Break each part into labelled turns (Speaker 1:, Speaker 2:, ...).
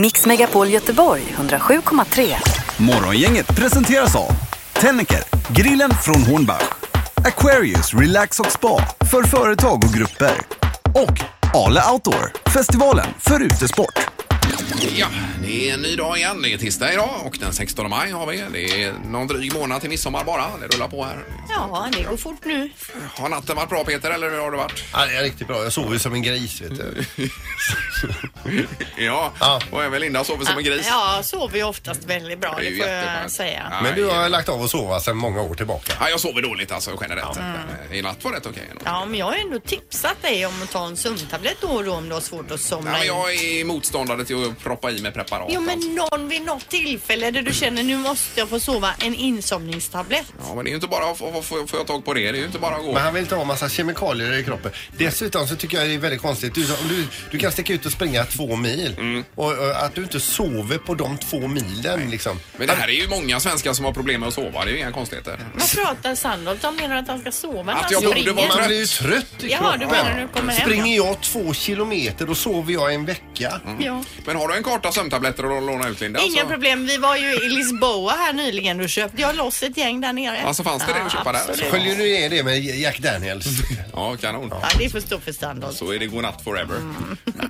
Speaker 1: Mix Megapol Göteborg 107,3.
Speaker 2: Morgongänget presenteras av Tennecker, grillen från Hornbach Aquarius Relax och Spa för företag och grupper och Ale Outdoor, festivalen för utesport.
Speaker 3: Ja, det är en ny dag igen. Det är tisdag idag och den 16 maj har vi. Det är någon dryg månad till midsommar bara. Det rullar på här.
Speaker 4: Ja, det går fort nu.
Speaker 3: Har natten varit bra Peter eller hur har det varit?
Speaker 5: Ja, det är riktigt bra. Jag sov ju som en gris vet du.
Speaker 3: Ja,
Speaker 5: Ja.
Speaker 3: och även Linda sover som en gris.
Speaker 4: Ja, sover ju oftast väldigt bra, det, får jag
Speaker 3: jätteskönt.
Speaker 4: säga.
Speaker 3: Ja,
Speaker 5: Men du har lagt av att sova sedan många år tillbaka.
Speaker 3: Ja, jag sover dåligt alltså generellt. Men, eh, I natt var det rätt okej. ändå.
Speaker 4: Ja, men jag har ändå tipsat dig om att ta en sömntablett då och då om du har svårt att somna
Speaker 3: Nej, men
Speaker 4: in.
Speaker 3: jag är motståndare till att proppa i mig preparat.
Speaker 4: Jo, men
Speaker 3: alltså.
Speaker 4: någon vid något tillfälle där du känner nu måste jag få sova en insomningstablett.
Speaker 3: Ja, men det är ju inte bara att få, få, få, få tag på det. Det är ju inte bara att gå.
Speaker 5: Men han vill inte ha massa kemikalier i kroppen. Dessutom så tycker jag det är väldigt konstigt. Du, om du, du kan sticka ut och springa två mil och, och att du inte sover på de två milen liksom.
Speaker 3: Men det här är ju många svenskar som har problem med att sova. Det är ju inga konstigheter.
Speaker 5: Mm.
Speaker 4: Vad pratar Sandholt om? Menar du att han ska sova när
Speaker 3: Att
Speaker 4: han
Speaker 3: jag borde
Speaker 4: springer?
Speaker 3: vara
Speaker 5: Man
Speaker 3: trött.
Speaker 5: blir ju trött i
Speaker 4: Jaha, du menar när du
Speaker 5: kroppen.
Speaker 4: kommer hem,
Speaker 5: Springer jag två kilometer då sover jag en vecka.
Speaker 4: Ja.
Speaker 3: Men har du en karta sömntabletter att låna ut Linda? Alltså-
Speaker 4: Inga
Speaker 3: så-
Speaker 4: problem. Vi var ju i Lisboa här nyligen. Då köpte jag loss ett gäng där nere.
Speaker 3: Ja, så fanns det det att köpa där?
Speaker 4: absolut.
Speaker 5: Sköljer du ner det med Jack Daniels?
Speaker 3: Ja, kanon.
Speaker 4: Ja, det får stå för Sandholt.
Speaker 3: Så är det godnatt forever.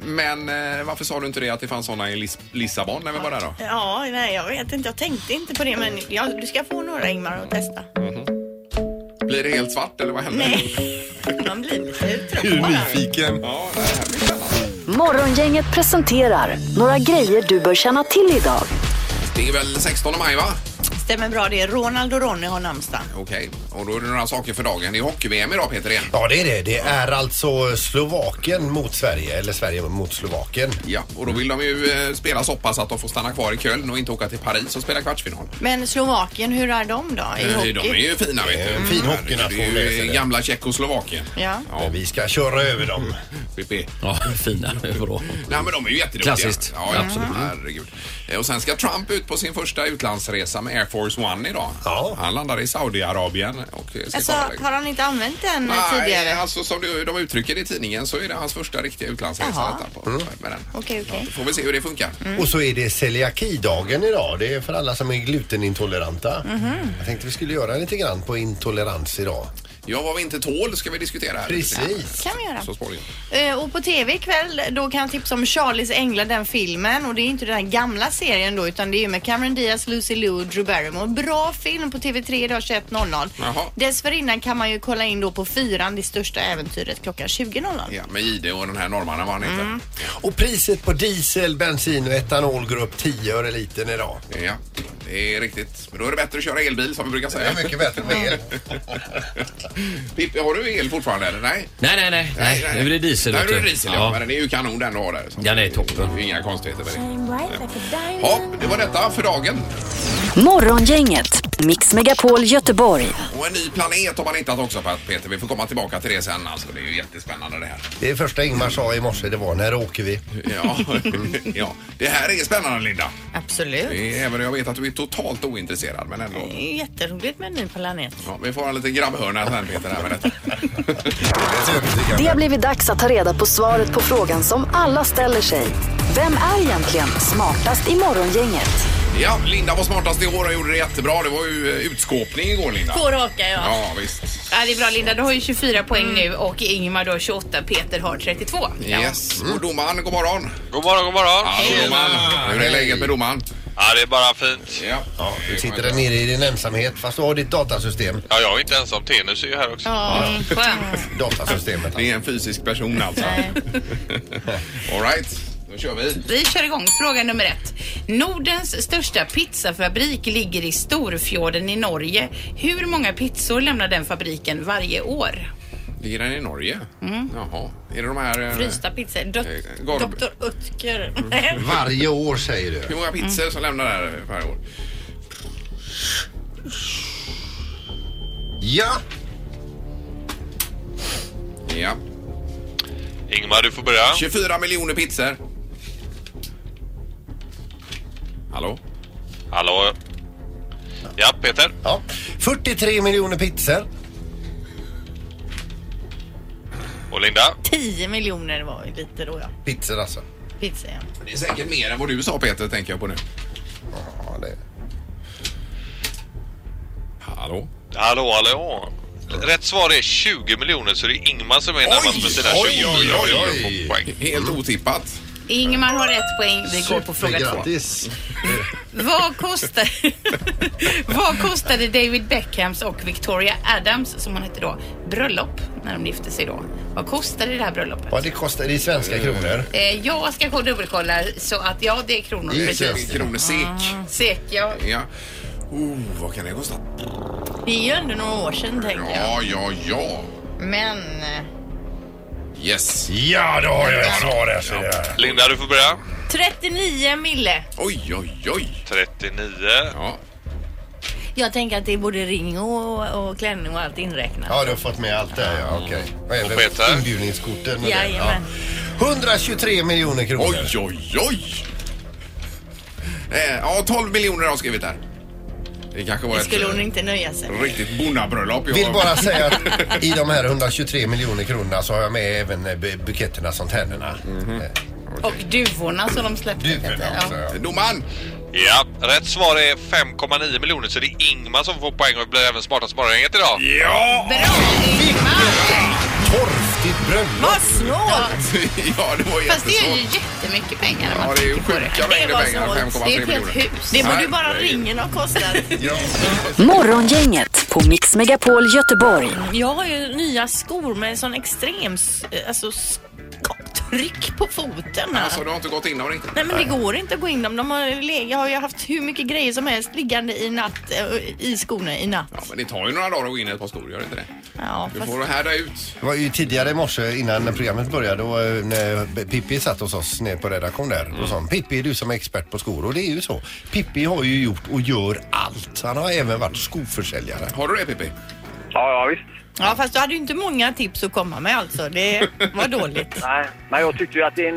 Speaker 3: Men eh, varför sa du inte det att det fanns såna i Lis- Lissabon när vi var där då?
Speaker 4: Ja, nej jag vet inte. Jag tänkte inte på det men ja, du ska få några Ingmar att testa.
Speaker 3: Blir det helt svart eller vad händer?
Speaker 4: Nej, man blir lite trött.
Speaker 5: Hur nyfiken?
Speaker 3: Ja, det här blir spännande.
Speaker 1: Morgongänget presenterar några grejer du bör känna till idag.
Speaker 3: Det är väl 16 maj va?
Speaker 4: Stämmer bra det. Ronald och Ronny har namnsdag.
Speaker 3: Okej, och då är det några saker för dagen. Det är hockey-VM idag Peter igen.
Speaker 5: Ja det är det. Det är alltså Slovakien mot Sverige eller Sverige mot Slovakien.
Speaker 3: Ja, och då vill de ju eh, spela så pass att de får stanna kvar i Köln och inte åka till Paris och spela kvartsfinal.
Speaker 4: Men Slovakien, hur är de då i
Speaker 3: Eh,
Speaker 4: hockey?
Speaker 3: De är ju fina vet du.
Speaker 5: En fin hockeynation,
Speaker 3: Det är
Speaker 5: det är
Speaker 3: ju
Speaker 5: det.
Speaker 3: eh, gamla Tjeckoslovakien.
Speaker 4: Ja.
Speaker 5: Men Vi ska köra över dem.
Speaker 3: Pippi.
Speaker 6: Ja, fina. Bra.
Speaker 3: Nej men de är ju jätteduktiga.
Speaker 6: Klassiskt.
Speaker 3: Ja, ja, absolut. Herregud. Eh, Och sen ska Trump ut på sin första utlandsresa med Air Force One idag.
Speaker 5: Ja.
Speaker 3: Han landar i Saudiarabien och eh, ska
Speaker 4: Alltså,
Speaker 3: kolla läget.
Speaker 4: har han inte använt den
Speaker 3: Nej,
Speaker 4: tidigare?
Speaker 3: alltså som du, de uttrycker det i tidningen så är det hans första riktiga utlandsresa
Speaker 4: Jaha. Mm.
Speaker 3: detta på, med den.
Speaker 4: Okej, okej.
Speaker 3: Då får vi se hur det funkar.
Speaker 7: Mm.
Speaker 5: Och så är det celiakidagen idag. Det är för alla som är glutenintoleranta.
Speaker 7: Mhm.
Speaker 5: Jag tänkte vi skulle göra lite grann på intolerans idag.
Speaker 3: Ja, vad vi inte tål ska vi diskutera här.
Speaker 5: Precis.
Speaker 4: kan vi göra.
Speaker 3: Så småningom.
Speaker 4: Eh, Och på TV ikväll då kan jag tipsa om Charlies Änglar, den filmen. Och det är inte den här gamla serien då utan det är ju med Cameron Diaz, Lucy Liu och Drew Barrymore. Bra film på TV3 idag 21.00.
Speaker 3: Jaha.
Speaker 4: Dessförinnan kan man ju kolla in då på Fyran, Det största äventyret klockan 20.00.
Speaker 3: Ja, med Ide och den här norrmannen, vad han heter.
Speaker 4: Mm.
Speaker 5: Och priset på diesel, bensin och etanol går upp 10 öre litern idag.
Speaker 3: Ja, det är riktigt. Men då är det bättre att köra elbil som vi brukar
Speaker 5: Det
Speaker 3: säga.
Speaker 5: är mycket bättre med el.
Speaker 3: Pippi, har du el fortfarande eller? Nej.
Speaker 6: Nej, nej, nej. nej. Nu är det diesel.
Speaker 3: Nu är
Speaker 6: vet du.
Speaker 3: det diesel, ja. Men den är ju kanon den du har där. Så.
Speaker 6: Den är toppen.
Speaker 3: Det är ju Inga konstigheter med det. Ja, det var detta för dagen.
Speaker 1: Morgongänget, Mix Megapol Göteborg.
Speaker 3: Och en ny planet har man hittat också Peter. Vi får komma tillbaka till det sen. Alltså, det är ju jättespännande det här.
Speaker 5: Det första Ingmar sa i morse det var när åker vi?
Speaker 3: Ja, ja. det här är spännande Linda.
Speaker 4: Absolut.
Speaker 3: Det är- Även om jag vet att du är totalt ointresserad. Men ändå.
Speaker 6: Mm.
Speaker 4: Det är jätteroligt med en ny planet.
Speaker 3: Ja, vi får ha en liten grabbhörna sen Peter. Här med detta.
Speaker 1: Det har blivit dags att ta reda på svaret på frågan som alla ställer sig. Vem är egentligen smartast i morgongänget?
Speaker 3: Ja, Linda var smartast i år och gjorde det jättebra. Det var ju eh, utskåpning igår Linda.
Speaker 7: Två raka ja. ja.
Speaker 3: Ja, visst.
Speaker 7: det är bra Linda, du har ju 24 poäng
Speaker 4: Mm.
Speaker 7: nu och Ingmar du har 28, Peter har 32. Ja.
Speaker 3: Yes. Och domaren, god morgon.
Speaker 8: God morgon, god morgon.
Speaker 3: Ja, domaren. Hur är läget med domaren?
Speaker 8: Ja, det är bara fint.
Speaker 3: Ja.
Speaker 5: Ja, du sitter där nere i din ensamhet fast du har ditt datasystem.
Speaker 8: Ja, jag är inte ensam. Tenus är ju här också.
Speaker 7: Mm, skönt.
Speaker 5: Datasystemet.
Speaker 3: Det är en fysisk person alltså. All right, då kör vi.
Speaker 7: Vi kör igång. Fråga nummer ett. Nordens största pizzafabrik ligger i Storfjorden i Norge. Hur många pizzor lämnar den fabriken varje år?
Speaker 3: Ligger den i Norge? Jaha. Är det de här... eh,
Speaker 7: Frysta pizzor. Dot-
Speaker 3: Eh, Gorb. Mm.
Speaker 7: Dr Utker.
Speaker 5: Varje år säger du.
Speaker 3: Hur många pizzor som lämnar där varje år?
Speaker 5: Ja!
Speaker 3: Ja.
Speaker 8: Ingmar, du får börja.
Speaker 3: 24 miljoner pizzor. Hallå?
Speaker 8: Hallå? Ja, Peter.
Speaker 5: ja. 43 miljoner pizzor.
Speaker 8: Och Linda?
Speaker 4: 10 miljoner var ju lite då ja.
Speaker 5: Pizzor alltså.
Speaker 4: pizza. Ja.
Speaker 3: Det är säkert mer än vad du sa Peter, tänker jag på nu.
Speaker 5: Ja, det...
Speaker 3: Hallå?
Speaker 8: Hallå, hallå. Rätt svar är 20 miljoner så det är Ingmar som är närmast med sina 20 miljoner.
Speaker 3: oj, oj. Helt otippat.
Speaker 7: Ingemar har rätt poäng. Vi går på fråga två.
Speaker 5: Supergrattis.
Speaker 7: Vad kostade, vad kostade David Beckhams och Victoria Adams, som hon hette då, bröllop när de gifte sig då? Vad kostade det här bröllopet?
Speaker 5: Vad det kostar i svenska kronor.
Speaker 7: Eh, jag ska gå och dubbelkolla så att ja, det är kronor
Speaker 5: Det är
Speaker 7: precis.
Speaker 5: precis.
Speaker 3: Kronor SEK.
Speaker 4: Ah.
Speaker 7: Sek, ja.
Speaker 3: Ja. Oh, vad kan det kosta?
Speaker 4: Det är ju ändå några år sedan tänker
Speaker 3: Ja,
Speaker 4: jag.
Speaker 3: ja, ja.
Speaker 4: Men eh,
Speaker 3: Yes.
Speaker 5: Ja, då har jag ett svar här. ser jag.
Speaker 8: Linda, du får börja.
Speaker 4: 39 mille.
Speaker 3: Oj, oj, oj.
Speaker 8: 39.
Speaker 3: Ja.
Speaker 4: Jag tänker att det är både ring och, och klänning och allt inräknat.
Speaker 5: Ja, du har fått med allt det här, ja. Okej. Och även
Speaker 8: Peter?
Speaker 5: inbjudningskorten och det. Ja.
Speaker 4: Jajamän.
Speaker 5: 123 miljoner kronor.
Speaker 3: Oj, oj, oj. Eh, ja, 12 miljoner har jag skrivit där. Det kanske var
Speaker 4: Det skulle hon
Speaker 3: ett
Speaker 4: inte nöja sig
Speaker 3: eh,
Speaker 4: med.
Speaker 3: riktigt bonnabröllop. jag-
Speaker 5: Vill bara säga att i de här 123 miljoner kronorna så har jag med även eh, bu- buketterna som tänderna. Eh,
Speaker 7: Och duvorna som de släppte.
Speaker 5: Duvorna också, ja.
Speaker 3: Domaren!
Speaker 8: Ja, rätt svar är 5,9 miljoner så det är Ingmar som får poäng och blir även smartast morgongänget idag.
Speaker 3: Ja!
Speaker 7: Bra Ingmar!
Speaker 5: Torftigt bröllop.
Speaker 4: Vad snålt!
Speaker 3: ja, det var
Speaker 7: Fast det är ju
Speaker 3: jättesvårt.
Speaker 7: jättemycket pengar. när man
Speaker 3: Ja, det är ju
Speaker 7: tänker på det.
Speaker 3: sjuka mängder
Speaker 4: var
Speaker 3: pengar. 5,3
Speaker 4: snålt.
Speaker 7: Det är ett
Speaker 3: miljoner.
Speaker 7: helt hus.
Speaker 4: Det borde
Speaker 3: Nej,
Speaker 4: ju bara
Speaker 3: det är ju-
Speaker 4: ringen ha kostat.
Speaker 3: Ja.
Speaker 1: Morgongänget på Mix Megapol Göteborg.
Speaker 4: Jag har ju nya skor med en sån extrem s- alltså, sk- tryck på foten. här.
Speaker 3: Alltså, du har inte gått in dem riktigt?
Speaker 4: Nej men det går inte att gå in dem. De har, le- jag har ju haft hur mycket grejer som helst liggande i, natt, eh, i skorna i natt.
Speaker 3: Ja, men det tar ju några dagar att gå in i ett par skor, gör det inte det?
Speaker 4: Ja,
Speaker 3: Du
Speaker 4: fast-
Speaker 3: får härda ut.
Speaker 5: Det var ju tidigare i morse innan programmet började och eh, när B- Pippi satt hos oss nere på redaktion där och sa Pippi är du som är expert på skor och det är ju så. Pippi har ju gjort och gör allt. Han har även varit skoförsäljare.
Speaker 3: Har du det, Pippi?
Speaker 9: Ja, ja visst.
Speaker 4: ja fast du hade ju inte många tips att komma med alltså. Det var dåligt.
Speaker 9: Nej, men jag tyckte ju att din, eh,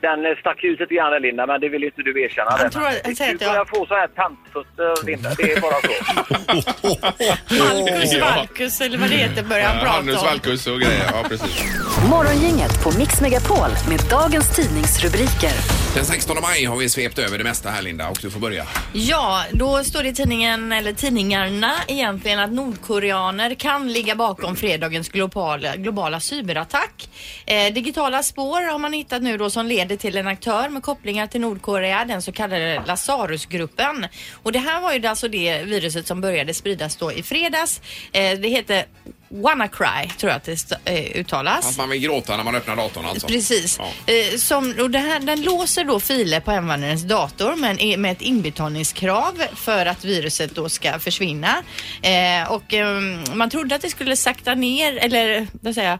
Speaker 9: den eh, stack ut lite grann där, Linda, men det vill ju inte du erkänna.
Speaker 4: Han
Speaker 9: det.
Speaker 4: tror att- han säger
Speaker 9: du
Speaker 4: att jag-
Speaker 9: börjar få så här tantfötter, Linda. Det är bara så.
Speaker 4: Malcus
Speaker 3: Ja.
Speaker 4: Valkus eller vad det heter började han
Speaker 3: Ja, Handels
Speaker 4: prata om.
Speaker 3: valkus och grejer. Ja, precis.
Speaker 1: Morgongänget på Mix Megapol med dagens tidningsrubriker.
Speaker 3: Den 16 maj har vi svept över det mesta här, Linda, och du får börja.
Speaker 4: Ja, då står det i tidningen, eller tidningarna egentligen, att nordkoreaner kan ligga bakom fredagens globala, globala cyberattack. Eh, digitala spår har man hittat nu då som leder till en aktör med kopplingar till Nordkorea, den så kallade Lazarusgruppen. Och det här var ju alltså det viruset som började spridas då i fredags. Eh, det heter WannaCry, tror jag att det st- eh, uttalas.
Speaker 3: Att man vill gråta när man öppnar datorn alltså.
Speaker 4: Precis.
Speaker 3: Ja.
Speaker 4: Eh, som, och det här, den låser då filer på användarens dator men är med ett inbetalningskrav för att viruset då ska försvinna. Eh, och ehm, man trodde att det skulle sakta ner eller vad säger jag?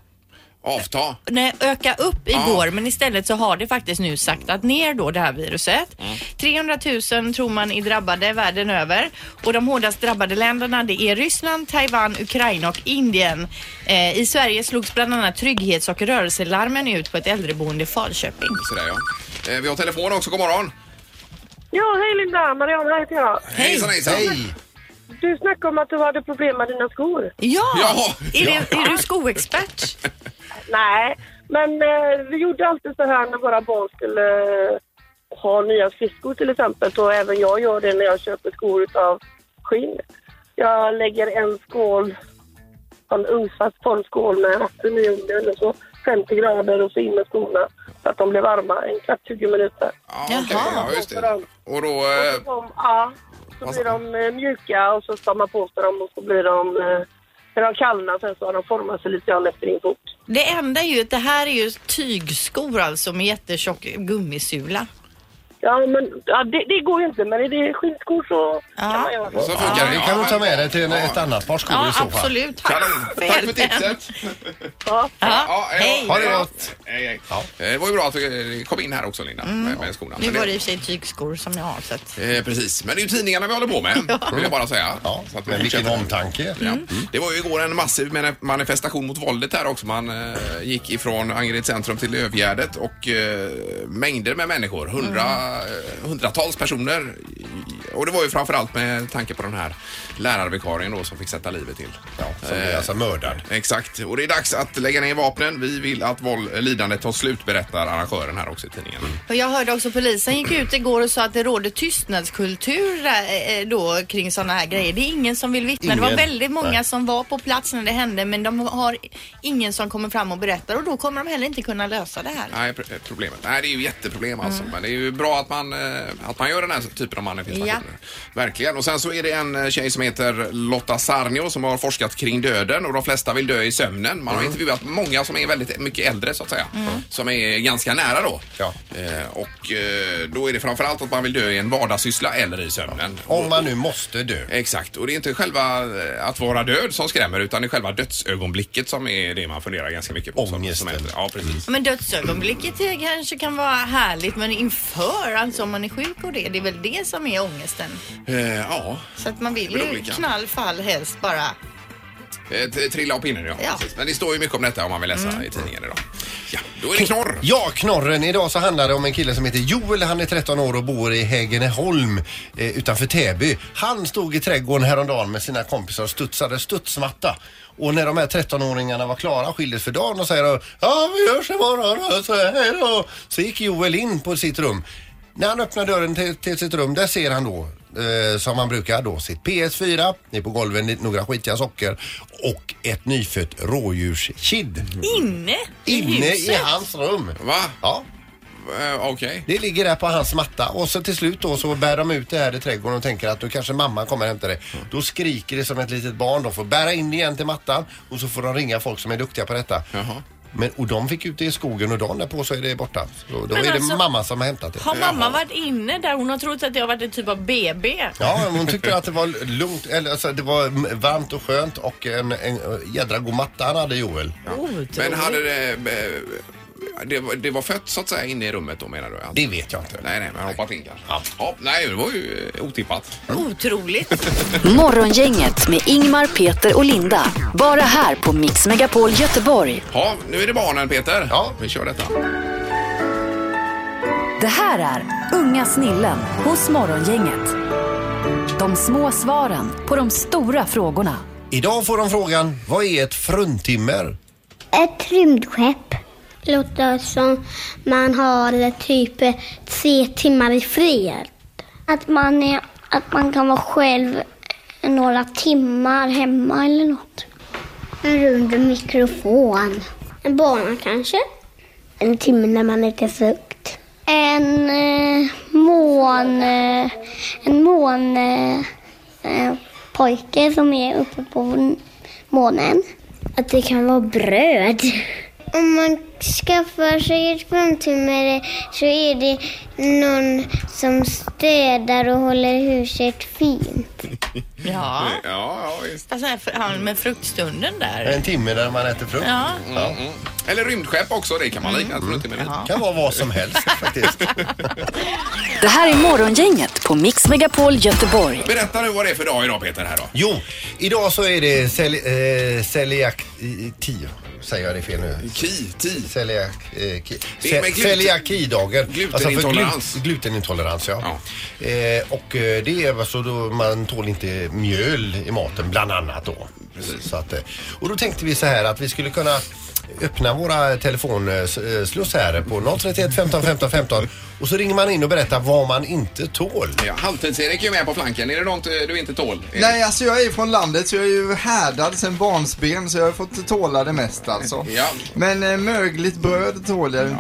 Speaker 3: Avta.
Speaker 4: Nej, öka upp igår men istället så har det faktiskt nu saktat ner då det här viruset. 300 000 tror man är drabbade världen över och de hårdast drabbade länderna det är Ryssland, Taiwan, Ukraina och Indien. Eh, I Sverige slogs bland annat trygghets och rörelselarmen ut på ett äldreboende i Falköping.
Speaker 3: Sådär ja. Eh, Vi har telefon också, god morgon.
Speaker 10: Ja, hej Linda! Mariana heter jag.
Speaker 3: Hej. Hejsan hejsan.
Speaker 5: Hej!
Speaker 10: Du snackade om att du hade problem med dina skor.
Speaker 4: Ja!
Speaker 3: Ja.
Speaker 4: Är, Det, är du skoexpert?
Speaker 10: Nej, men eh, vi gjorde alltid så här när våra barn skulle eh, ha nya skridskor till exempel. Så även jag gör det när jag köper skor utav skinn. Jag lägger en skål, en ugnsfast formskål med vatten i ugnen och så 50 grader och så in med skorna så att de blir varma en kvart, 20 minuter.
Speaker 3: Ja, okej,
Speaker 4: Jaha.
Speaker 3: ja, just det. Och då... eh,
Speaker 10: De, ja, så blir de eh, mjuka och så tar man på sig dem och så blir de, eh, när de kallnar sen så har de format sig lite grann efter din fot.
Speaker 4: Det enda är ju att det här är ju tygskor alltså med jättetjock gummisula.
Speaker 10: Ja, men ja, det, det går ju inte, men är det skinnskor så
Speaker 4: Ja.
Speaker 10: kan man göra det.
Speaker 3: Så funkar det.
Speaker 5: Det kan du ta med dig till en-
Speaker 3: Ja.
Speaker 5: ett annat par skor i
Speaker 4: Ja,
Speaker 5: så fall.
Speaker 4: absolut.
Speaker 3: Kanon. Tack för tipset.
Speaker 10: Ja.
Speaker 4: Ja, hej.
Speaker 3: då.
Speaker 5: Ha det gott.
Speaker 3: Hej, hej. Eh, Det var ju bra att du eh, kom in här också Linda, med, med skorna.
Speaker 4: Mm. Nu
Speaker 3: Men
Speaker 4: var det i och för sig tygskor som jag har sett.
Speaker 3: Eh, precis, men det är ju tidningarna vi håller på med, vill jag bara säga.
Speaker 5: Ja,
Speaker 3: Så att vi
Speaker 5: men vilken
Speaker 3: fortsätter.
Speaker 5: omtanke. Mm.
Speaker 3: Ja. Det var ju igår en massiv mene- manifestation mot våldet här också. Man eh, gick ifrån Angered centrum till Lövgärdet och eh, mängder med människor, hundra, eh, hundratals personer, i- Och det var ju framförallt med tanke på den här lärarvikarien då som fick sätta livet till. Ja,
Speaker 5: som blev alltså mördad.
Speaker 3: Exakt, och det är dags att lägga ner vapnen. Vi vill att våld, lidandet tar slut, berättar arrangören här också i tidningen.
Speaker 4: Och Jag hörde också polisen gick ut igår och sa att det råder tystnadskultur eh, eh, då kring sådana här grejer. Det är ingen som vill vittna. Det var
Speaker 11: Ingen.
Speaker 4: väldigt många
Speaker 11: Nej.
Speaker 4: som var på plats när det hände men de har ingen som kommer fram och berättar och då kommer de heller inte kunna lösa det här.
Speaker 3: Nej, pr- eh, problemet. Nej, det är ju jätteproblem alltså. Men det är ju bra att man, eh, att man gör den här typen av manifestationer. Verkligen. Och sen så är det en eh, tjej som heter Lotta Sarnio som har forskat kring döden och de flesta vill dö i sömnen. Man har intervjuat många som är väldigt mycket äldre så att säga.
Speaker 12: Mm.
Speaker 3: Som är ganska nära då. Eh, och eh, då är det framförallt att man vill dö i en vardagssyssla eller i sömnen. Om man
Speaker 5: nu måste
Speaker 3: Eh,
Speaker 5: dö.
Speaker 3: Exakt. Och det är inte själva eh, att vara död som skrämmer utan det är själva dödsögonblicket som är det man funderar ganska mycket på. Ångesten. Som, som äldre. ja, precis.
Speaker 4: Men dödsögonblicket eh, kanske kan vara härligt men inför, alltså om man är sjuk och det, det är väl det som är ångesten.
Speaker 3: Eh, ja.
Speaker 4: Så att man vill
Speaker 3: Det är
Speaker 4: ju
Speaker 3: olika.
Speaker 4: knall, fall, helst bara.
Speaker 3: Eh, t- Trilla av pinnen, ja. Precis. Men det står ju mycket om detta om man vill läsa i tidningen idag. Ja, då är det knorr.
Speaker 5: Ja, knorren. Idag så handlar det om en kille som heter Joel. Han är 13 år och bor i Häggeneholm eh, utanför Täby. Han stod i trädgården häromdagen med sina kompisar och studsade studsmatta. Och när de här 13-åringarna var klara och skildes för dagen och säger de, ja vi hörs imorgon och så här, hej då. Så gick Joel in på sitt rum. När han öppnar dörren till, till sitt rum, där ser han då eh, som han brukar då sitt PS4, det är på golvet lite- några skitiga socker och ett nyfött rådjurskid.
Speaker 4: Mm. Inne i
Speaker 5: Inne i
Speaker 4: huset.
Speaker 5: hans rum.
Speaker 3: Va? Eh,
Speaker 5: Ja.
Speaker 3: Okej.
Speaker 5: Det ligger där på hans matta och så till slut då så bär de ut det här i trädgården och tänker att då kanske mamma kommer hämta det. Då skriker det som ett litet barn. De får bära in det igen till mattan och så får de ringa folk som är duktiga på detta. Men, och de fick ut det i skogen och dagen därpå så är det borta. Så, då
Speaker 4: Men
Speaker 5: är
Speaker 4: alltså,
Speaker 5: det mamma som har hämtat det.
Speaker 4: Har mamma varit inne där? Hon har trott att det har varit en typ av BB.
Speaker 5: Ja, men hon tyckte att det var lugnt, eller alltså, det var mm, varmt och skönt och en, en jädra god matta han hade Joel.
Speaker 3: Men hade det... eh, Det var, det var fött så att säga inne i rummet då menar du? Att...
Speaker 5: Det vet jag inte.
Speaker 3: Nej, nej, men hoppat in kanske. Ja. nej, det var ju eh, otippat.
Speaker 4: Otroligt.
Speaker 1: Morgongänget med Ingmar, Peter och Linda. Bara här på Mix Megapol Göteborg.
Speaker 3: Ja, nu är det barnen Peter. Ja. Vi kör detta.
Speaker 1: Det här är Unga snillen hos Morgongänget. De små svaren på de stora frågorna.
Speaker 5: Idag får de frågan, vad är ett fruntimmer?
Speaker 13: Ett rymdskepp låter som man har typ tre timmar i fred. Att man, är, att man kan vara själv några timmar hemma eller något. En rund mikrofon. En bana kanske? En timme när man äter frukt. En eh, mån... Eh, en mån... Eh, eh, pojke som är uppe på månen. Att det kan vara bröd. Om man skaffar sig ett fruntimmer så är det någon som städar och håller huset fint.
Speaker 4: Ja.
Speaker 3: ja, ja visst.
Speaker 4: Alltså, här för- han med fruktstunden där.
Speaker 7: Mm.
Speaker 5: En timme där man äter frukt.
Speaker 4: Ja.
Speaker 5: Ja.
Speaker 3: Mm, mm. Eller rymdskepp också, det kan man likna mm. till mm.
Speaker 5: Kan vara vad som helst faktiskt.
Speaker 1: Det här är Morgongänget på Mix Megapol Göteborg.
Speaker 3: Berätta nu vad det är för dag idag Peter här då.
Speaker 5: Jo, idag så är det cel, eh, celiak... i- Tio. Säger jag det fel nu?
Speaker 3: Ki, ti.
Speaker 5: Celiak, eh, ki.
Speaker 3: Det är med
Speaker 5: Ce-
Speaker 3: gluten-
Speaker 5: Celiakidagen.
Speaker 3: Glutenintolerans.
Speaker 5: Alltså för glu- glutenintolerans, ja. Eh, och eh, det är alltså då man tål inte mjöl i maten bland annat då. Så att, eh, och då tänkte vi så här att vi skulle kunna öppna våra eh, telefonslussar här på 031 15 15 15 och så ringer man in och berättar vad man inte tål.
Speaker 3: Ja, Halvtids-Erik är ju med på flanken. Är det något eh, du inte tål? Erik?
Speaker 14: Nej, alltså jag är ju från landet så jag är ju härdad sedan barnsben så jag har fått tåla det mesta alltså.
Speaker 3: Ja.
Speaker 14: Men eh, mögligt bröd tål jag inte.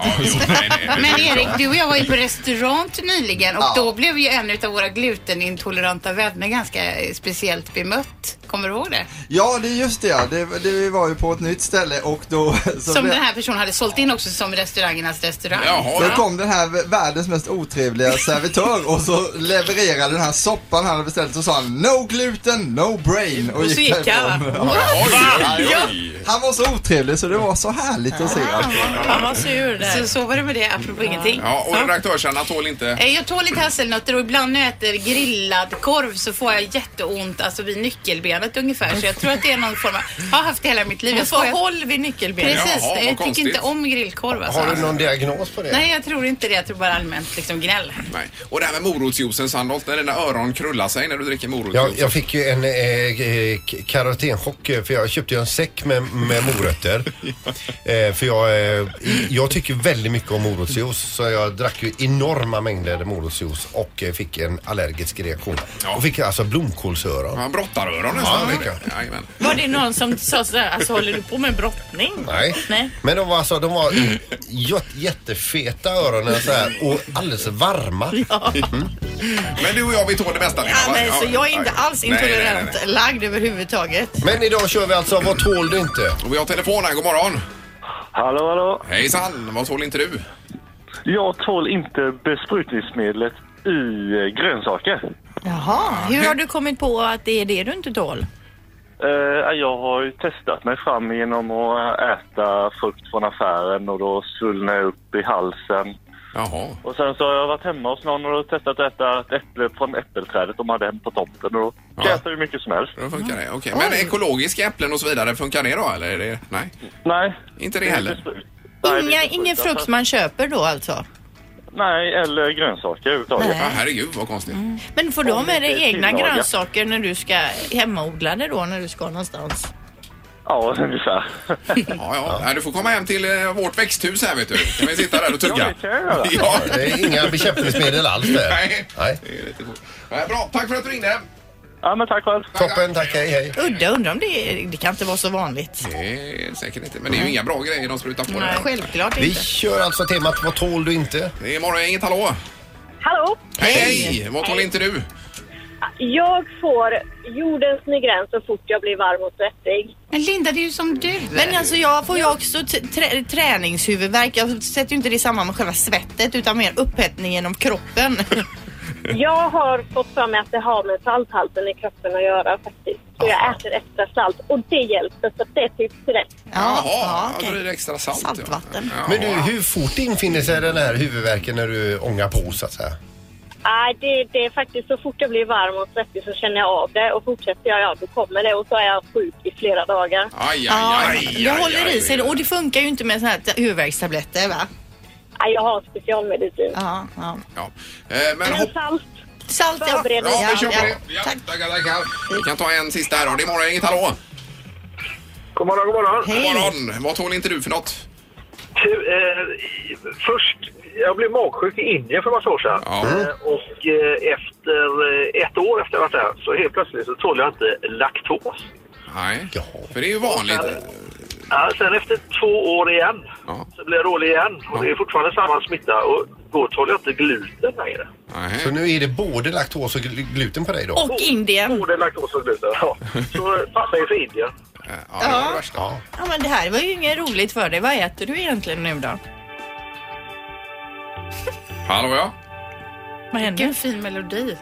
Speaker 7: Men
Speaker 3: Mm.
Speaker 7: Erik, du och jag var ju på restaurang nyligen och
Speaker 14: Ja.
Speaker 7: då blev ju en av våra glutenintoleranta vänner ganska eh, speciellt bemött. Kommer du ihåg det?
Speaker 14: Ja, det är just det, ja. det, det Vi var ju på ett nytt ställe och då... så
Speaker 7: Som
Speaker 14: blev-
Speaker 7: den här personen hade sålt in också som restaurangernas restaurang.
Speaker 14: Då kom den här v- världens mest otrevliga servitör och så levererade den här soppan han hade beställt och sa han No gluten, no brain
Speaker 7: Och så gick han,
Speaker 14: därifrån.
Speaker 7: va? Oj, oj, oj.
Speaker 14: Han var så otrevlig så det var så härligt att se.
Speaker 7: Han var sur där. Så, så var det med det, apropå ingenting.
Speaker 3: Ja, och redaktörsarna tål inte...
Speaker 7: Eh, Jag tål lite hasselnötter och ibland när jag äter grillad korv så får jag jätteont, alltså vid nyckelbenet ungefär. Så jag tror att det är någon form av, har haft det hela mitt liv.
Speaker 4: Hon
Speaker 7: Jag
Speaker 4: får
Speaker 7: skojar.
Speaker 4: håll vid nyckelbenet.
Speaker 7: Precis,
Speaker 4: Jaha, vad
Speaker 7: jag tycker
Speaker 3: konstigt.
Speaker 7: inte om grillkorv alltså.
Speaker 5: Har du någon diagnos på det?
Speaker 7: Nej, jag tror inte det. Jag tror bara allmänt liksom gnäll.
Speaker 3: Nej. Och det här med morotsjuicen Sandholt, när dina öron krullar sig när du dricker
Speaker 5: Jag,
Speaker 3: morotsjuice.
Speaker 5: jag fick ju en eh, eh, k- karotenchock eh, för jag köpte ju en säck med, med morötter. eh, för jag, eh, jag tycker väldigt mycket om morotsjuice så jag drack ju enorma mängder morotsjuice och eh, fick en allergisk reaktion. Och fick alltså blomkålsöron.
Speaker 3: Ja, brottaröron
Speaker 5: nästan. Ja, det
Speaker 3: fick
Speaker 5: jag.
Speaker 4: Var det någon som sa så här, alltså håller du på med brottning?
Speaker 5: Nej.
Speaker 4: Nej.
Speaker 5: Men de var alltså, de var jätte- jättefeta öronen så här och alldeles varma. Mm.
Speaker 3: Men du och jag, vi tål det mesta. Lena,
Speaker 4: Ja,
Speaker 3: va?
Speaker 4: men, så
Speaker 3: Ja,
Speaker 4: jag är inte
Speaker 3: ja.
Speaker 4: alls
Speaker 3: Nej, nej, nej,
Speaker 4: intolerant lagd överhuvudtaget.
Speaker 5: Men idag kör vi alltså Vad tål du inte?
Speaker 3: Och vi har telefon här, god morgon.
Speaker 11: Hallå, hallå.
Speaker 3: Hejsan, vad tål inte du?
Speaker 11: Jag tål inte besprutningsmedlet i eh, grönsaker.
Speaker 4: Jaha, hur har du kommit på att det är det du inte tål?
Speaker 11: Eh, jag har ju testat mig fram genom att äta frukt från affären och då svullnar jag upp i halsen. Och sen så har jag varit hemma hos någon och då testat att äta ett äpple från äppelträdet de hade hem på tomten och då kan jag äta hur mycket som helst.
Speaker 3: Då funkar det. Okej, Men ekologiska äpplen och så vidare, funkar det då eller? Är det... Nej.
Speaker 11: Nej.
Speaker 3: Inte
Speaker 4: Mm.
Speaker 3: det heller?
Speaker 4: Inga, ingen frukt man köper då alltså?
Speaker 11: Nej, eller grönsaker överhuvudtaget.
Speaker 4: Nej. Mm. Ja,
Speaker 3: Ah, herregud vad konstigt.
Speaker 4: Men får du ha med dig
Speaker 11: det är
Speaker 4: egna
Speaker 11: tillagat.
Speaker 4: grönsaker när du ska hemmaodla det då, när du ska någonstans?
Speaker 11: Ja, ungefär.
Speaker 3: Ja, ja. Nej, Du får komma hem till eh, vårt växthus här vet du. Kan vi sitta där och tugga?
Speaker 11: Ja, det kan jag göra.
Speaker 3: Ja.
Speaker 5: Det är inga bekämpningsmedel alls där.
Speaker 3: Nej.
Speaker 5: Nej.
Speaker 3: Det är lite coolt. Nej, Bra, tack för att du ringde.
Speaker 11: Ja, men tack själv.
Speaker 5: Toppen, tack, hej, hej.
Speaker 4: Udda, undrar om det, är- det kan inte vara så vanligt.
Speaker 3: Nej, säkert inte. Men det är ju inga bra grejer de sprutar på
Speaker 4: Nej,
Speaker 3: dig.
Speaker 4: självklart
Speaker 5: Vi
Speaker 4: inte.
Speaker 5: kör alltså temat Vad tål du inte?
Speaker 3: Det är Morgongänget, hallå!
Speaker 10: Hallå!
Speaker 3: Hej! Vad tål inte du?
Speaker 10: Jag får jordens migrän så fort jag blir varm och svettig.
Speaker 7: Men Linda, det är ju som du.
Speaker 4: Men alltså jag får ju också t- trä- träningshuvudvärk. Jag sätter ju inte det i samband med själva svettet utan mer upphettning genom kroppen.
Speaker 10: Jag har fått för mig att det har med salthalten i kroppen att göra faktiskt. Så jag äter extra salt och det hjälper så det är typ tips till dig.
Speaker 3: Jaha, ja, då blir det extra salt. Saltvatten. Ja.
Speaker 5: Men du, hur fort infinner sig den här huvudvärken när du ångar på så att säga?
Speaker 10: Nej, det, det är faktiskt så fort jag blir varm och svettig så känner jag av det och fortsätter jag, ja då kommer det och så är jag sjuk i flera dagar.
Speaker 3: Aj,
Speaker 4: Ja,
Speaker 3: aj, aj,
Speaker 4: det
Speaker 3: aj,
Speaker 4: håller
Speaker 3: aj.
Speaker 4: i sig och det funkar ju inte med såna här t- huvudvärkstabletter va?
Speaker 10: Nej, jag har specialmedicin.
Speaker 4: Ja, ja.
Speaker 3: Ja. Eh, Men hopp...
Speaker 10: Salt.
Speaker 4: Salt, ja.
Speaker 10: Förbered dig.
Speaker 3: Ja, vi kör på
Speaker 4: Ja,
Speaker 3: det. Ja, tackar, tackar. Vi kan ta en sista här då. Det är Morgongänget, hallå!
Speaker 11: God morgon, god morgon.
Speaker 3: God morgon! Vad tål inte du för något?
Speaker 11: Tu- eh, först, jag blev magsjuk i Indien för massa år sedan. Eh, och eh, efter eh, ett år efter jag varit där så helt plötsligt så tål jag inte laktos.
Speaker 3: Nej, för det är ju vanligt.
Speaker 11: Ja, sen efter två år igen så blir jag dålig igen och det är fortfarande samma smitta och då tål jag inte gluten längre.
Speaker 5: Så nu är det både laktos och gl- gluten på dig då?
Speaker 4: Och Indien.
Speaker 11: Både laktos och gluten, ja. Så passar ju för Indien.
Speaker 4: Ja.
Speaker 5: Ja.
Speaker 4: ja, men det här var ju inget roligt för dig. Vad äter du egentligen nu då?
Speaker 3: Hallå ja.
Speaker 4: Vad händer?
Speaker 7: Vilken fin melodi.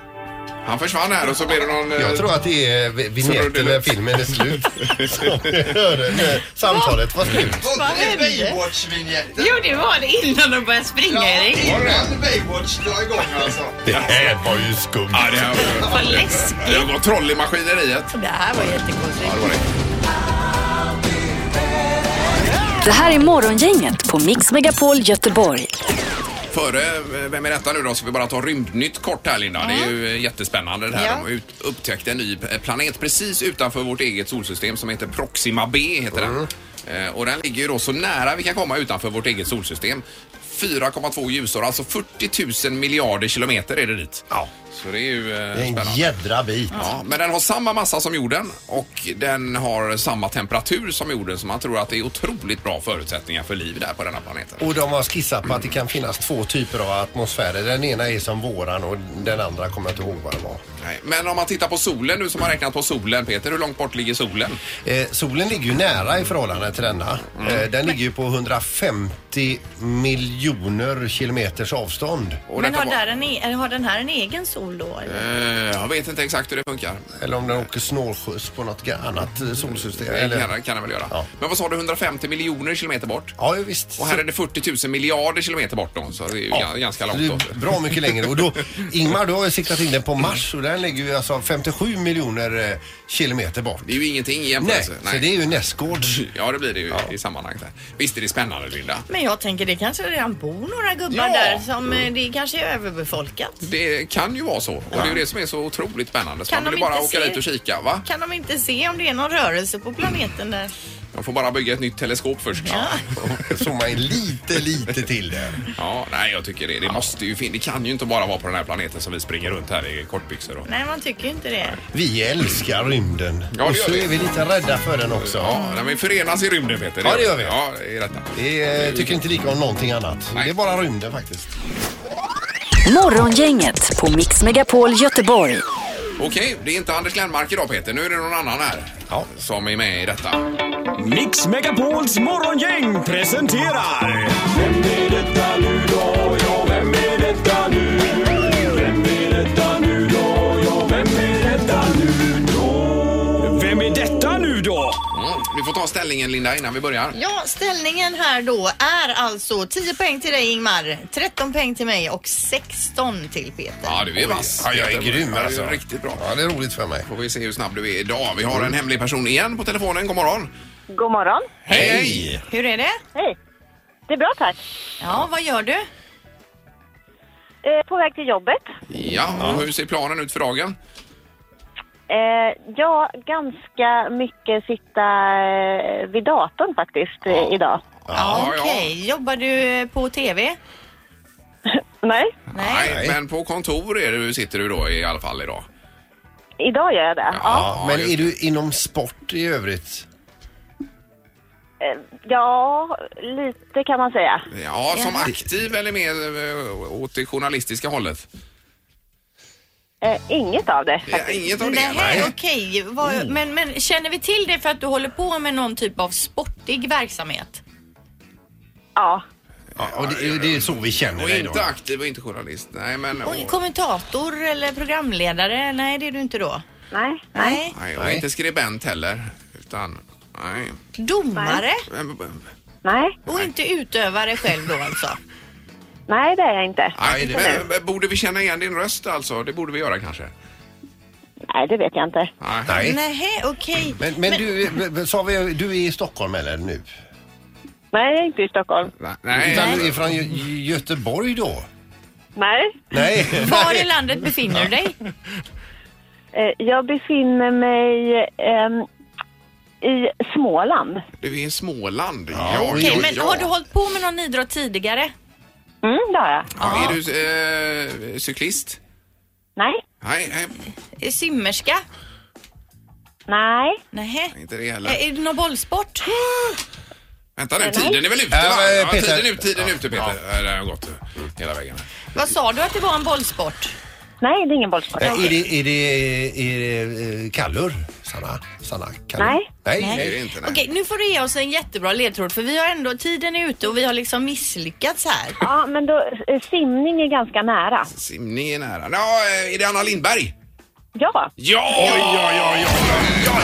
Speaker 3: Han försvann här och så blir det någon... eh,
Speaker 5: Jag tror att det är vi-
Speaker 3: Så det-
Speaker 5: vignetten när filmen är slut. Så vi hörde när Samtalet var slut.
Speaker 14: Var inte det Baywatch-vinjetten?
Speaker 7: Jo, det var det innan de började springa, Erik.
Speaker 14: Innan Baywatch drar igång alltså.
Speaker 5: Det här var ju skumt.
Speaker 3: Ja, det här var...
Speaker 7: Vad läskigt.
Speaker 3: Det har gått troll i maskineriet.
Speaker 4: Det här var jättekonstigt.
Speaker 3: Ja, det var det.
Speaker 1: Det här är Morgongänget på Mix Megapol Göteborg.
Speaker 3: Före eh, Vem är detta nu då? Ska vi bara ta rymdnytt kort här Linda. Det är ju eh, jättespännande det här.
Speaker 4: Ja.
Speaker 3: De har ut- upptäckt en ny eh, planet precis utanför vårt eget solsystem som heter Proxima B. Heter den. Eh, Och den ligger ju då så nära vi kan komma utanför vårt eget solsystem. 4,2 ljusår, alltså 40 000 miljarder kilometer är det dit. Ja. Så det är ju eh,
Speaker 5: Det är
Speaker 3: spännande.
Speaker 5: en jädra bit.
Speaker 3: Ja, men den har samma massa som jorden och den har samma temperatur som jorden så man tror att det är otroligt bra förutsättningar för liv där på denna planeten.
Speaker 5: Och de har skissat på att det kan finnas två typer av atmosfärer. Den ena är som våran och den andra kommer jag inte ihåg vad det var.
Speaker 3: Nej, Men om man tittar på solen, du som har räknat på solen Peter, hur långt bort ligger solen?
Speaker 5: Eh,
Speaker 3: Mm.
Speaker 5: solen ligger ju nära i förhållande till denna. Eh, den ligger ju på 150 miljoner miljoner kilometers avstånd.
Speaker 4: Men har, där en e eller har den här en egen sol då?
Speaker 3: Eh.
Speaker 4: Eller?
Speaker 3: jag vet inte exakt hur det funkar.
Speaker 5: Eller om den åker snålskjuts på något annat eh, solsystem.
Speaker 3: Det
Speaker 5: Eller...
Speaker 3: kan, kan det väl göra. Men vad sa du, 150 miljoner kilometer bort?
Speaker 5: Ja, visst.
Speaker 3: Och här är det 40 000 miljarder kilometer bort då, så det är ju ga- ganska långt.
Speaker 5: Det
Speaker 3: då.
Speaker 5: är bra mycket längre. Och då, Ingmar, du har ju siktat in den på Mars och den ligger ju alltså 57 miljoner eh, kilometer bort.
Speaker 3: Det är ju ingenting i
Speaker 5: Nej,
Speaker 3: jämförelse.
Speaker 5: så det är ju nästgårds.
Speaker 3: Ja, det blir det ju i sammanhanget. Där. Visst är det spännande, Linda?
Speaker 4: Men jag tänker det kanske redan bor några gubbar
Speaker 3: Ja.
Speaker 4: där som eh, det kanske är överbefolkat.
Speaker 3: Det kan ju vara så. Och det är ju det som är så otroligt spännande. Så
Speaker 4: Kan
Speaker 3: man vill
Speaker 4: de
Speaker 3: bara
Speaker 4: inte
Speaker 3: åka
Speaker 4: se-
Speaker 3: dit och kika, va?
Speaker 4: Kan de inte se om det är någon rörelse på planeten där?
Speaker 3: De får bara bygga ett nytt teleskop först. Ja.
Speaker 5: Zooma in lite, lite till där.
Speaker 3: Ja, nej, jag tycker det. Det måste ju finnas. Det kan ju inte bara vara på den här planeten som vi springer runt här i kortbyxor och...
Speaker 4: Nej, man tycker ju inte det.
Speaker 5: Vi älskar rymden.
Speaker 3: det
Speaker 5: och
Speaker 3: gör
Speaker 5: så
Speaker 3: vi.
Speaker 5: är vi lite rädda för den också.
Speaker 3: Ja, nej, vi förenas i rymden, Peter.
Speaker 5: Ja, det gör vi.
Speaker 3: Ja, det är detta.
Speaker 5: Vi eh, tycker inte lika om någonting annat. Det är bara rymden faktiskt.
Speaker 1: Morgongänget på Mix Megapol Göteborg.
Speaker 3: Okej, det är inte Anders Glenmark idag, Peter. Nu är det någon annan här som är med i detta. Mm.
Speaker 12: Mix Megapols morgongäng presenterar... Vem är detta nu då? Ja, vem är detta nu? Vem är detta nu då? Ja, vem är detta nu då? Vem är detta nu då?
Speaker 3: Mm. Vi får ta ställningen, Linda, innan vi börjar.
Speaker 4: Ja, ställningen här då är alltså 10 poäng till dig Ingmar, 13 poäng till mig och 16 till Peter.
Speaker 3: Ja, du är
Speaker 5: Oj.
Speaker 3: vass.
Speaker 5: Ja, jag är
Speaker 3: Peter.
Speaker 5: grym
Speaker 3: Ja, du
Speaker 5: alltså. Mm.
Speaker 3: är Riktigt bra.
Speaker 5: Ja, det är roligt för mig.
Speaker 3: Får vi se hur snabb du är idag. Vi har en hemlig person igen på telefonen. God morgon.
Speaker 15: God morgon.
Speaker 3: Hej!
Speaker 4: Hur är det?
Speaker 15: Hej. Det är bra, tack.
Speaker 4: Ja, vad gör du?
Speaker 15: Eh, på väg till jobbet.
Speaker 3: Ja, och hur ser planen ut för dagen?
Speaker 15: Eh, ja, ganska mycket sitta eh, vid datorn faktiskt eh, idag.
Speaker 4: Ja, okej. Jobbar du eh, på TV?
Speaker 15: Nej,
Speaker 3: Nej. Men på kontor är du, sitter du då i alla fall idag.
Speaker 15: idag gör jag det. Ja,
Speaker 5: Men är du inom sport i övrigt?
Speaker 15: eh, ja lite kan man säga.
Speaker 3: Ja, som
Speaker 15: Ja.
Speaker 3: aktiv eller mer eh, åt det journalistiska hållet?
Speaker 15: Eh, inget av det
Speaker 3: Ja, inget av det?
Speaker 4: Nej, okej. Vad- Men, men känner vi till det för att du håller på med någon typ av sportig verksamhet?
Speaker 15: Ja.
Speaker 5: Ja, och det, det är så vi känner
Speaker 3: Och
Speaker 5: dig då.
Speaker 3: inte aktiv och inte journalist. Nej, men... Och,
Speaker 4: Och kommentator eller programledare? Nej, det är du inte då.
Speaker 15: Nej.
Speaker 4: Nej.
Speaker 3: nej, och inte skribent heller. Utan, nej.
Speaker 4: Eh. Domare?
Speaker 3: Men- men-
Speaker 15: Nej.
Speaker 4: Och inte utövare själv då alltså?
Speaker 15: Nej, det är jag inte.
Speaker 3: Nej, men, men borde vi känna igen din röst alltså? Det borde vi göra kanske.
Speaker 15: Nej, det vet jag inte.
Speaker 5: Nej.
Speaker 4: Nej, okej.
Speaker 5: Men, men du, men- sa vi, du är i Stockholm eller nu?
Speaker 15: Nej, jag är inte i Stockholm.
Speaker 3: Nej.
Speaker 5: Utan du är från Gö- Göteborg då?
Speaker 15: Nej.
Speaker 5: Nej.
Speaker 4: Var i landet befinner du dig?
Speaker 15: Eh, jag befinner mig ehm, i Småland.
Speaker 3: Du är i Småland. Ja,
Speaker 4: Okej,
Speaker 3: ja,
Speaker 4: men
Speaker 3: ja.
Speaker 4: har du hållit på med någon idrott tidigare?
Speaker 15: Mm, det har jag.
Speaker 3: Ja, Är du eh, cyklist?
Speaker 15: Nej.
Speaker 3: Nej, nej,
Speaker 4: Eh, Simmerska?
Speaker 15: Nej.
Speaker 4: Nej.
Speaker 3: inte det heller.
Speaker 4: Är det någon bollsport?
Speaker 3: Vänta nu,
Speaker 4: Eh, Nej.
Speaker 3: tiden är väl ute?
Speaker 5: Ja,
Speaker 3: va?
Speaker 5: men,
Speaker 3: Ja,
Speaker 5: Peter-
Speaker 3: tiden är ute, tiden är ute Peter. Ja. Det har gått hela vägen.
Speaker 4: Vad sa du att det var en bollsport?
Speaker 15: Nej, det är ingen bollsport.
Speaker 5: Eh, Är det, är det, är det eh, kallur? Sanna? Sanna kallur?
Speaker 4: Nej.
Speaker 5: Nej,
Speaker 4: Nej.
Speaker 5: det är det inte. Nej.
Speaker 4: Okej, nu får du ge oss en jättebra ledtråd för vi har ändå, tiden är ute och vi har liksom misslyckats här.
Speaker 15: Ja, men då, eh, simning är ganska nära.
Speaker 3: Simning är nära. Ja, eh, är det Anna Lindberg?
Speaker 15: Ja.
Speaker 3: Ja! Oj, ja, ja, ja, ja,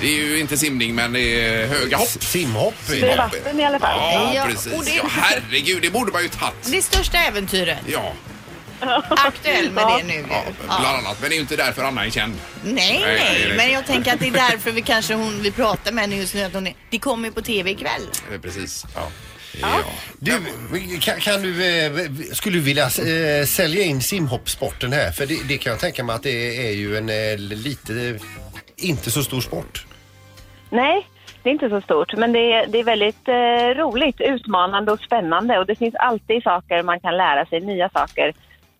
Speaker 3: Det är ju inte simning, men det är höga hopp.
Speaker 5: Simhopp.
Speaker 15: Det är vatten i alla fall.
Speaker 3: Ja,
Speaker 4: Ja, och
Speaker 3: precis.
Speaker 4: det-
Speaker 3: Ja, herregud, det borde man ju tagit.
Speaker 4: Det största äventyret.
Speaker 3: Ja,
Speaker 4: Aktuell med det nu.
Speaker 3: ja, bland annat. Men det är ju inte därför Anna är liksom- känd.
Speaker 4: Nej,
Speaker 3: Nej, nej,
Speaker 4: nej,
Speaker 3: nej.
Speaker 4: men jag tänker att det är därför vi kanske hon, vi pratar med henne just nu. Att hon är, det kommer ju på TV ikväll.
Speaker 3: Eh, Precis. Ja.
Speaker 5: Du, kan, kan du, eh, skulle du vilja eh, sälja in simhoppsporten här? För det, det kan jag tänka mig att det är ju en eh, lite, inte så stor sport.
Speaker 15: Nej, det är inte så stort. Men det är, det är väldigt eh, roligt, utmanande och spännande. Och det finns alltid saker man kan lära sig, nya saker.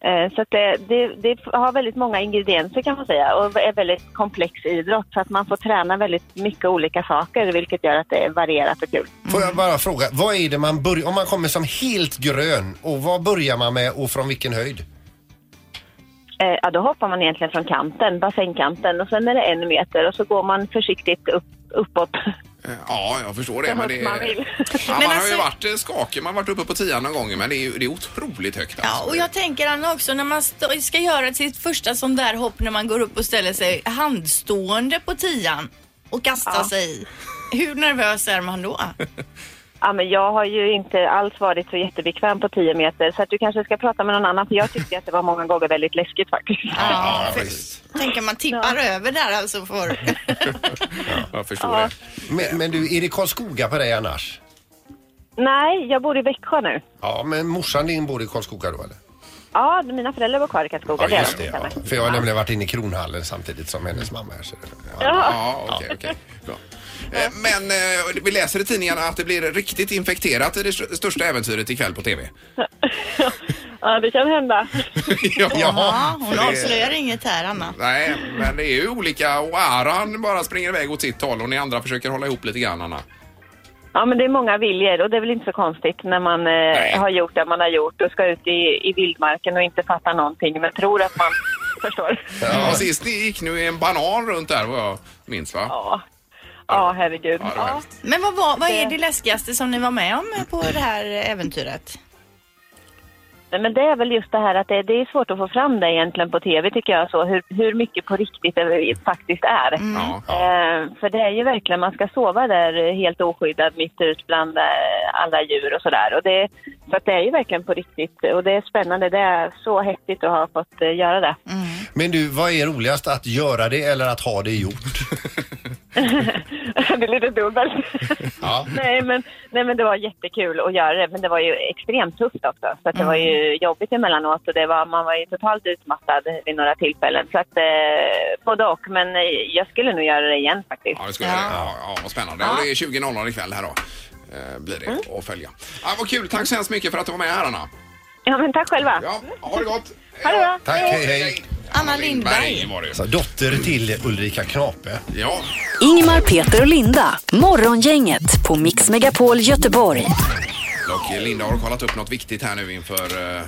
Speaker 15: Eh, så att det, det, det har väldigt många ingredienser kan man säga och är väldigt komplex idrott. Så att man får träna väldigt mycket olika saker vilket gör att det är varierat och kul.
Speaker 5: Får jag bara fråga, vad är det man börjar, om man kommer som helt grön och vad börjar man med och från vilken höjd?
Speaker 15: Eh, ja, då hoppar man egentligen från kanten, bassängkanten och sen är det en meter och så går man försiktigt upp, uppåt.
Speaker 3: Eh, Ja, jag förstår det.
Speaker 15: Så
Speaker 3: Men
Speaker 15: högt
Speaker 3: det
Speaker 15: man vill.
Speaker 3: ja, man
Speaker 4: Men
Speaker 3: har ju
Speaker 4: alltså-
Speaker 3: varit eh, skakig. Man har varit uppe på tian någon gång, men det är, ju- det är otroligt högt. alltså.
Speaker 4: Ja, och jag tänker Anna också när man stå- ska göra sitt första sån där hopp när man går upp och ställer sig handstående på tian och kastar sig. Hur nervös är man då?
Speaker 15: Ja, men jag har ju inte alls varit så jättebekväm på 10 meter så att du kanske ska prata med någon annan för jag tyckte att det var många gånger väldigt läskigt faktiskt.
Speaker 4: Ja, Tänker man tippar över där alltså för...
Speaker 3: Jag förstår
Speaker 15: Ja.
Speaker 3: det.
Speaker 5: Men, men du, är det Karlskoga på dig annars?
Speaker 15: Nej, jag bor i Växjö nu.
Speaker 5: Ja, men morsan din bor i Karlskoga då eller?
Speaker 15: Ja, mina föräldrar bor kvar i Karlskoga.
Speaker 5: Ja,
Speaker 15: är
Speaker 5: just
Speaker 15: de.
Speaker 5: det. Ja. För jag har nämligen varit inne i Kronhallen samtidigt som hennes mamma här. Så,
Speaker 3: Ja, okej, okej. Bra. Eh, Men eh, vi läser i tidningarna att det blir riktigt infekterat i det st- största äventyret ikväll på TV.
Speaker 15: Ja, det kan hända.
Speaker 3: ja,
Speaker 4: Jaha,
Speaker 3: för
Speaker 4: hon
Speaker 3: det-
Speaker 4: avslöjar inget här Anna.
Speaker 3: Nej, men det är ju olika och Aran bara springer iväg åt sitt håll och ni andra försöker hålla ihop lite grann, Anna.
Speaker 15: Ja, men det är många viljor och det är väl inte så konstigt när man eh, har gjort det man har gjort och ska ut i, i vildmarken och inte fattar någonting men tror att man förstår.
Speaker 3: Ja, sist ni gick nu i en banan runt där vad jag minns va? Ja.
Speaker 15: Ja, herregud.
Speaker 3: Ja, det var hemskt.
Speaker 4: Men vad, var, vad är det läskigaste som ni var med om på det här äventyret?
Speaker 15: Nej, men det är väl just det här att det, det är svårt att få fram det egentligen på tv tycker jag, så hur, hur mycket på riktigt det faktiskt är.
Speaker 3: Mm.
Speaker 15: Eh, för det är ju verkligen, man ska sova där eh, helt oskyddad mitt ut bland eh, alla djur och sådär. Och det, så att det är ju verkligen på riktigt och det är spännande, det är så häftigt att ha fått eh, göra det.
Speaker 5: Men du, vad är roligast att göra det eller att ha det gjort?
Speaker 15: det är lite dubbelt. nej, men, nej, men det var jättekul att göra det. Men det var ju extremt tufft också. Så att det var ju
Speaker 3: Mm.
Speaker 15: jobbigt emellanåt och det var, man var ju totalt utmattad vid några tillfällen. Så att eh, både och. Men eh, jag skulle nog göra det igen faktiskt.
Speaker 3: Ja, det skulle ja. Ja, ja, vad spännande. Och det är 20.00 ikväll här då. Eh, blir det att följa. Ja, vad kul. Tack så hemskt mycket för att du var med här Anna.
Speaker 15: Ja, men tack själva.
Speaker 3: Ja, ha det gott.
Speaker 15: Ha det bra.
Speaker 5: Tack, hej hej.
Speaker 4: Anna
Speaker 3: Lindberg var det.
Speaker 5: Alltså, dotter till Ulrika Knape.
Speaker 3: Ja.
Speaker 1: Ingmar, Peter och Linda. Morgongänget på Mix Megapol Göteborg.
Speaker 3: Och Linda har kollat upp något viktigt här nu inför eh,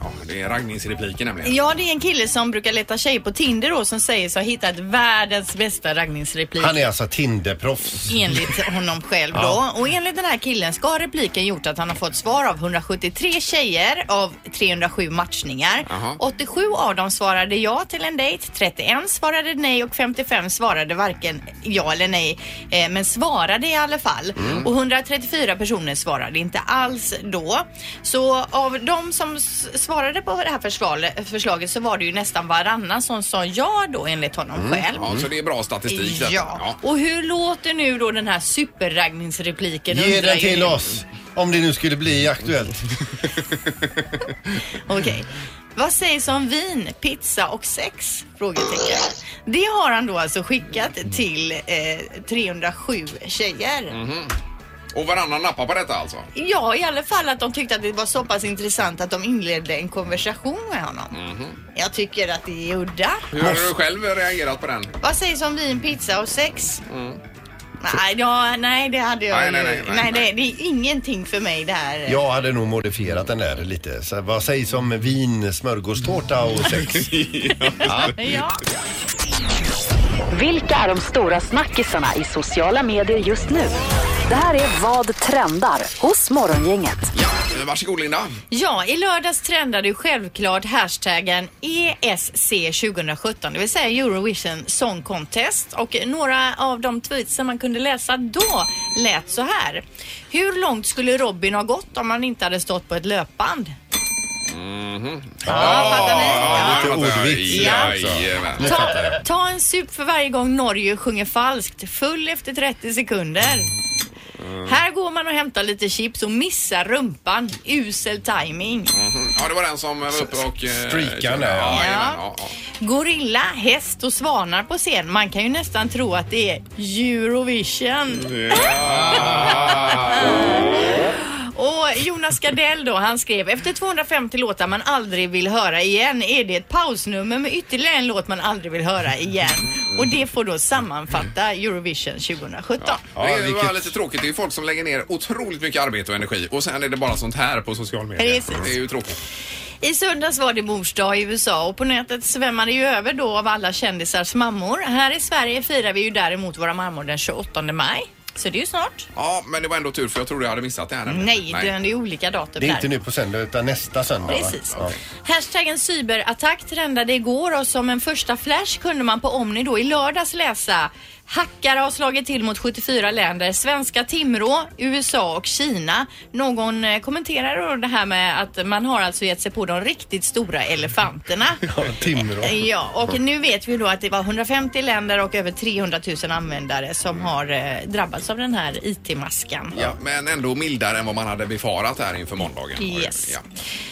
Speaker 3: ja, det är raggningsrepliken nämligen.
Speaker 4: Ja, det är en kille som brukar leta tjejer på Tinder då som säger sig ha hittat världens bästa raggningsreplik.
Speaker 5: Han är alltså Tinderproffs.
Speaker 4: Enligt honom själv då.
Speaker 5: Ja.
Speaker 4: Och enligt den här killen ska ha repliken gjort att han har fått svar av 173 tjejer av 307 matchningar.
Speaker 16: Jaha.
Speaker 4: 87 av dem svarade ja till en dejt, 31 svarade nej och 55 svarade varken ja eller nej. Eh, men svarade i alla fall.
Speaker 16: Mm.
Speaker 4: Och 134 personer svarade inte alls då. Så av de som s- svarade på det här förslag- förslaget så var det ju nästan varannan som sa ja då enligt honom själv.
Speaker 3: Ja, så det är bra statistik detta.
Speaker 4: Ja. Och hur låter nu då den här superraggningsrepliken?
Speaker 5: Ge
Speaker 4: undrar
Speaker 5: den
Speaker 4: ju
Speaker 5: till
Speaker 4: ni.
Speaker 5: oss. Om det nu skulle bli aktuellt.
Speaker 4: Okej. Vad sägs om vin, pizza och sex? Frågetecken. Det har han då alltså skickat till eh, 307 tjejer.
Speaker 3: Mhm. Och varannan nappar på detta alltså?
Speaker 4: Ja, i alla fall att de tyckte att det var så pass intressant att de inledde en konversation med honom.
Speaker 3: Mhm.
Speaker 4: Jag tycker att det är udda.
Speaker 3: Hur har du själv reagerat på den?
Speaker 4: Vad sägs om vin, pizza och sex?
Speaker 3: Mm.
Speaker 4: Nej, ja, nej, det hade jag
Speaker 5: Nej,
Speaker 4: ju-
Speaker 5: nej, nej, nej,
Speaker 4: Det, det är ingenting för mig det här. eh.
Speaker 5: Jag hade nog modifierat den där lite. Så vad sägs om vin, smörgåstårta och sex? ja.
Speaker 4: Ja.
Speaker 1: Vilka är de stora snackisarna i sociala medier just nu? Det här är Vad trendar hos Morgongänget.
Speaker 3: Eh, Varsågod Linda.
Speaker 4: Ja, i lördags trendade ju självklart hashtaggen E ESC 2017, det vill säga Eurovision Song Contest. Och några av de tweets som man kunde läsa då lät så här. Hur långt skulle Robin ha gått om han inte hade stått på ett löpband?
Speaker 3: Mhm.
Speaker 4: Ja, fattar ni?
Speaker 3: Ja,
Speaker 5: Lite
Speaker 3: jag fattar.
Speaker 5: ordvits.
Speaker 3: Ja,
Speaker 5: alltså.
Speaker 3: jajamän.
Speaker 5: Nu fattar jag.
Speaker 4: Ta en sup för varje gång Norge sjunger falskt, full efter 30 sekunder. Här går man och hämtar lite chips och missar rumpan. Usel timing.
Speaker 3: Mhm. Ja, det var den som var uppe och... eh,
Speaker 5: Streakade,
Speaker 3: körde.
Speaker 5: ja.
Speaker 3: Ja, jajamän,
Speaker 4: Ja.
Speaker 3: ja. ja.
Speaker 4: Gorilla, häst och svanar på scen. Man kan ju nästan tro att det är Eurovision. Och Jonas Gardell då, han skrev efter 250 låtar man aldrig vill höra igen är det ett pausnummer med ytterligare en låt man aldrig vill höra igen. Och det får då sammanfatta Eurovision 2017.
Speaker 3: Ja, det är ju bara lite tråkigt. Det är ju folk som lägger ner otroligt mycket arbete och energi och sen är det bara sånt här på social media.
Speaker 4: Precis.
Speaker 3: Det är ju tråkigt.
Speaker 4: I söndags var det mors dag i USA och på nätet svämmade ju över då av alla kändisars mammor. Här i Sverige firar vi ju däremot våra mammor den 28 maj. Så det är ju snart.
Speaker 3: Ja, men det var ändå tur för jag trodde jag hade missat det här. nämligen.
Speaker 4: Nej, det är ju olika datum
Speaker 5: Det är
Speaker 4: där.
Speaker 5: inte nu på söndag utan nästa söndag. va?
Speaker 4: Precis.
Speaker 5: Ja.
Speaker 4: Hashtaggen cyberattack trendade igår och som en första flash kunde man på Omni då i lördags läsa Hackare har slagit till mot 74 länder, svenska Timrå, USA och Kina. Någon eh, kommenterar då det här med att man har alltså gett sig på de riktigt stora elefanterna.
Speaker 5: Timrå.
Speaker 4: Ja, och nu vet vi då att det var 150 länder och över 300 000 användare som
Speaker 5: Mm.
Speaker 4: har eh, drabbats av den här IT-maskan.
Speaker 3: Ja, men ändå mildare än vad man hade befarat här inför måndagen.
Speaker 4: Yes.
Speaker 3: Ja.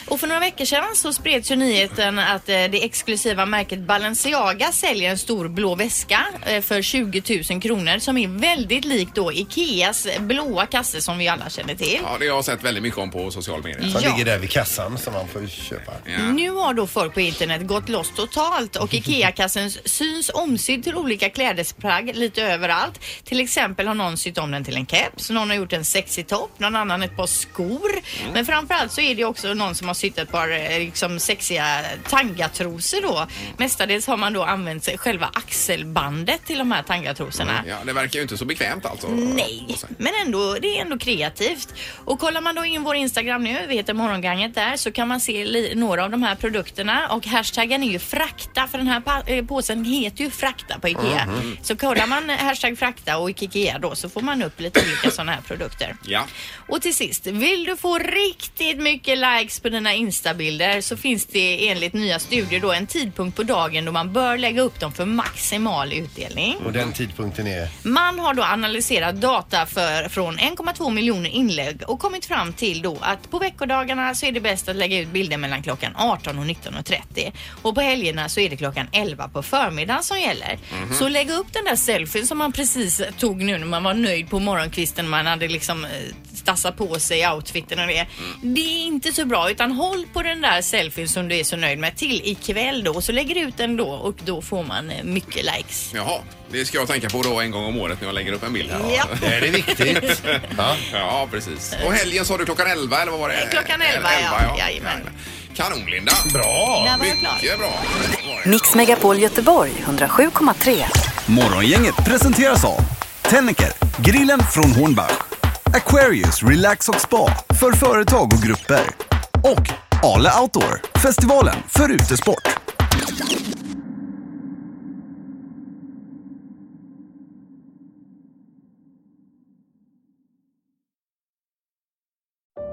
Speaker 4: Och för några veckor sedan så spreds ju nyheten att eh, det exklusiva märket Balenciaga säljer en stor blå väska eh, för 20 000 kronor som är väldigt lik då Ikeas blåa kasse som vi alla känner till.
Speaker 3: Ja, det har jag sett väldigt mycket om på sociala medier.
Speaker 4: Som Ja. ligger
Speaker 3: där vid kassan som man får köpa.
Speaker 4: Nu har då folk på internet gått loss totalt och IKEA-kassen syns omsydd till olika klädesplagg lite överallt. Till exempel har någon sytt om den till en keps, någon har gjort en sexig topp, någon annan ett par skor. Men framförallt så är det också någon som har sytt ett par eh, liksom sexiga tangatrosor då. Mestadels har man då använt sig- själva axelbandet till de här tangatrosorna.
Speaker 3: Ja, det verkar ju inte så bekvämt alltså.
Speaker 4: Nej, men ändå, det är ändå kreativt. Och kollar man då in vår Instagram nu, vi heter Morgonganget där, så kan man se li- några av de här produkterna. Och hashtaggen är ju frakta, för den här pa- eh, påsen heter ju frakta på IKEA.
Speaker 16: Mhm.
Speaker 4: Så kollar man eh, hashtag frakta och IKEA då så får man upp lite olika sådana här produkter.
Speaker 3: Ja.
Speaker 4: Och till sist, vill du få riktigt mycket likes på dina instabilder så finns det enligt nya studier då en tidpunkt på dagen då man bör lägga upp dem för maximal utdelning.
Speaker 5: Och den tidpunkten är...
Speaker 4: Man har då analyserat data för, från 1,2 miljoner inlägg och kommit fram till då att på veckodagarna så är det bäst att lägga ut bilder mellan klockan 18 och 19.30 och på helgerna så är det klockan 11 på förmiddagen som gäller.
Speaker 16: Mhm.
Speaker 4: Så lägg upp den där selfien som man precis tog nu när man var nöjd på morgonkvisten man hade liksom eh, tassat på sig outfiten och det. Det är inte så bra utan håll på den där selfien som du är så nöjd med till ikväll då och så lägger du ut den då och då får man eh, mycket likes.
Speaker 3: Jaha, det ska jag tänka på då en gång om året när jag lägger upp en bild. här.
Speaker 4: Ja.
Speaker 3: Det är viktigt. ja. ja, precis. Och helgen sa du klockan 11 eller vad var det?
Speaker 4: Klockan 11, ja. Jajamän.
Speaker 3: Kanon Linda. Bra!
Speaker 4: Där var jag klar.
Speaker 3: Mycket bra.
Speaker 1: Mix Megapol Göteborg 107,3.
Speaker 2: Morgongänget presenteras av Tennicker, grillen från Hornbach, Aquarius Relax och Spa för företag och grupper och Ale Outdoor, festivalen för utesport.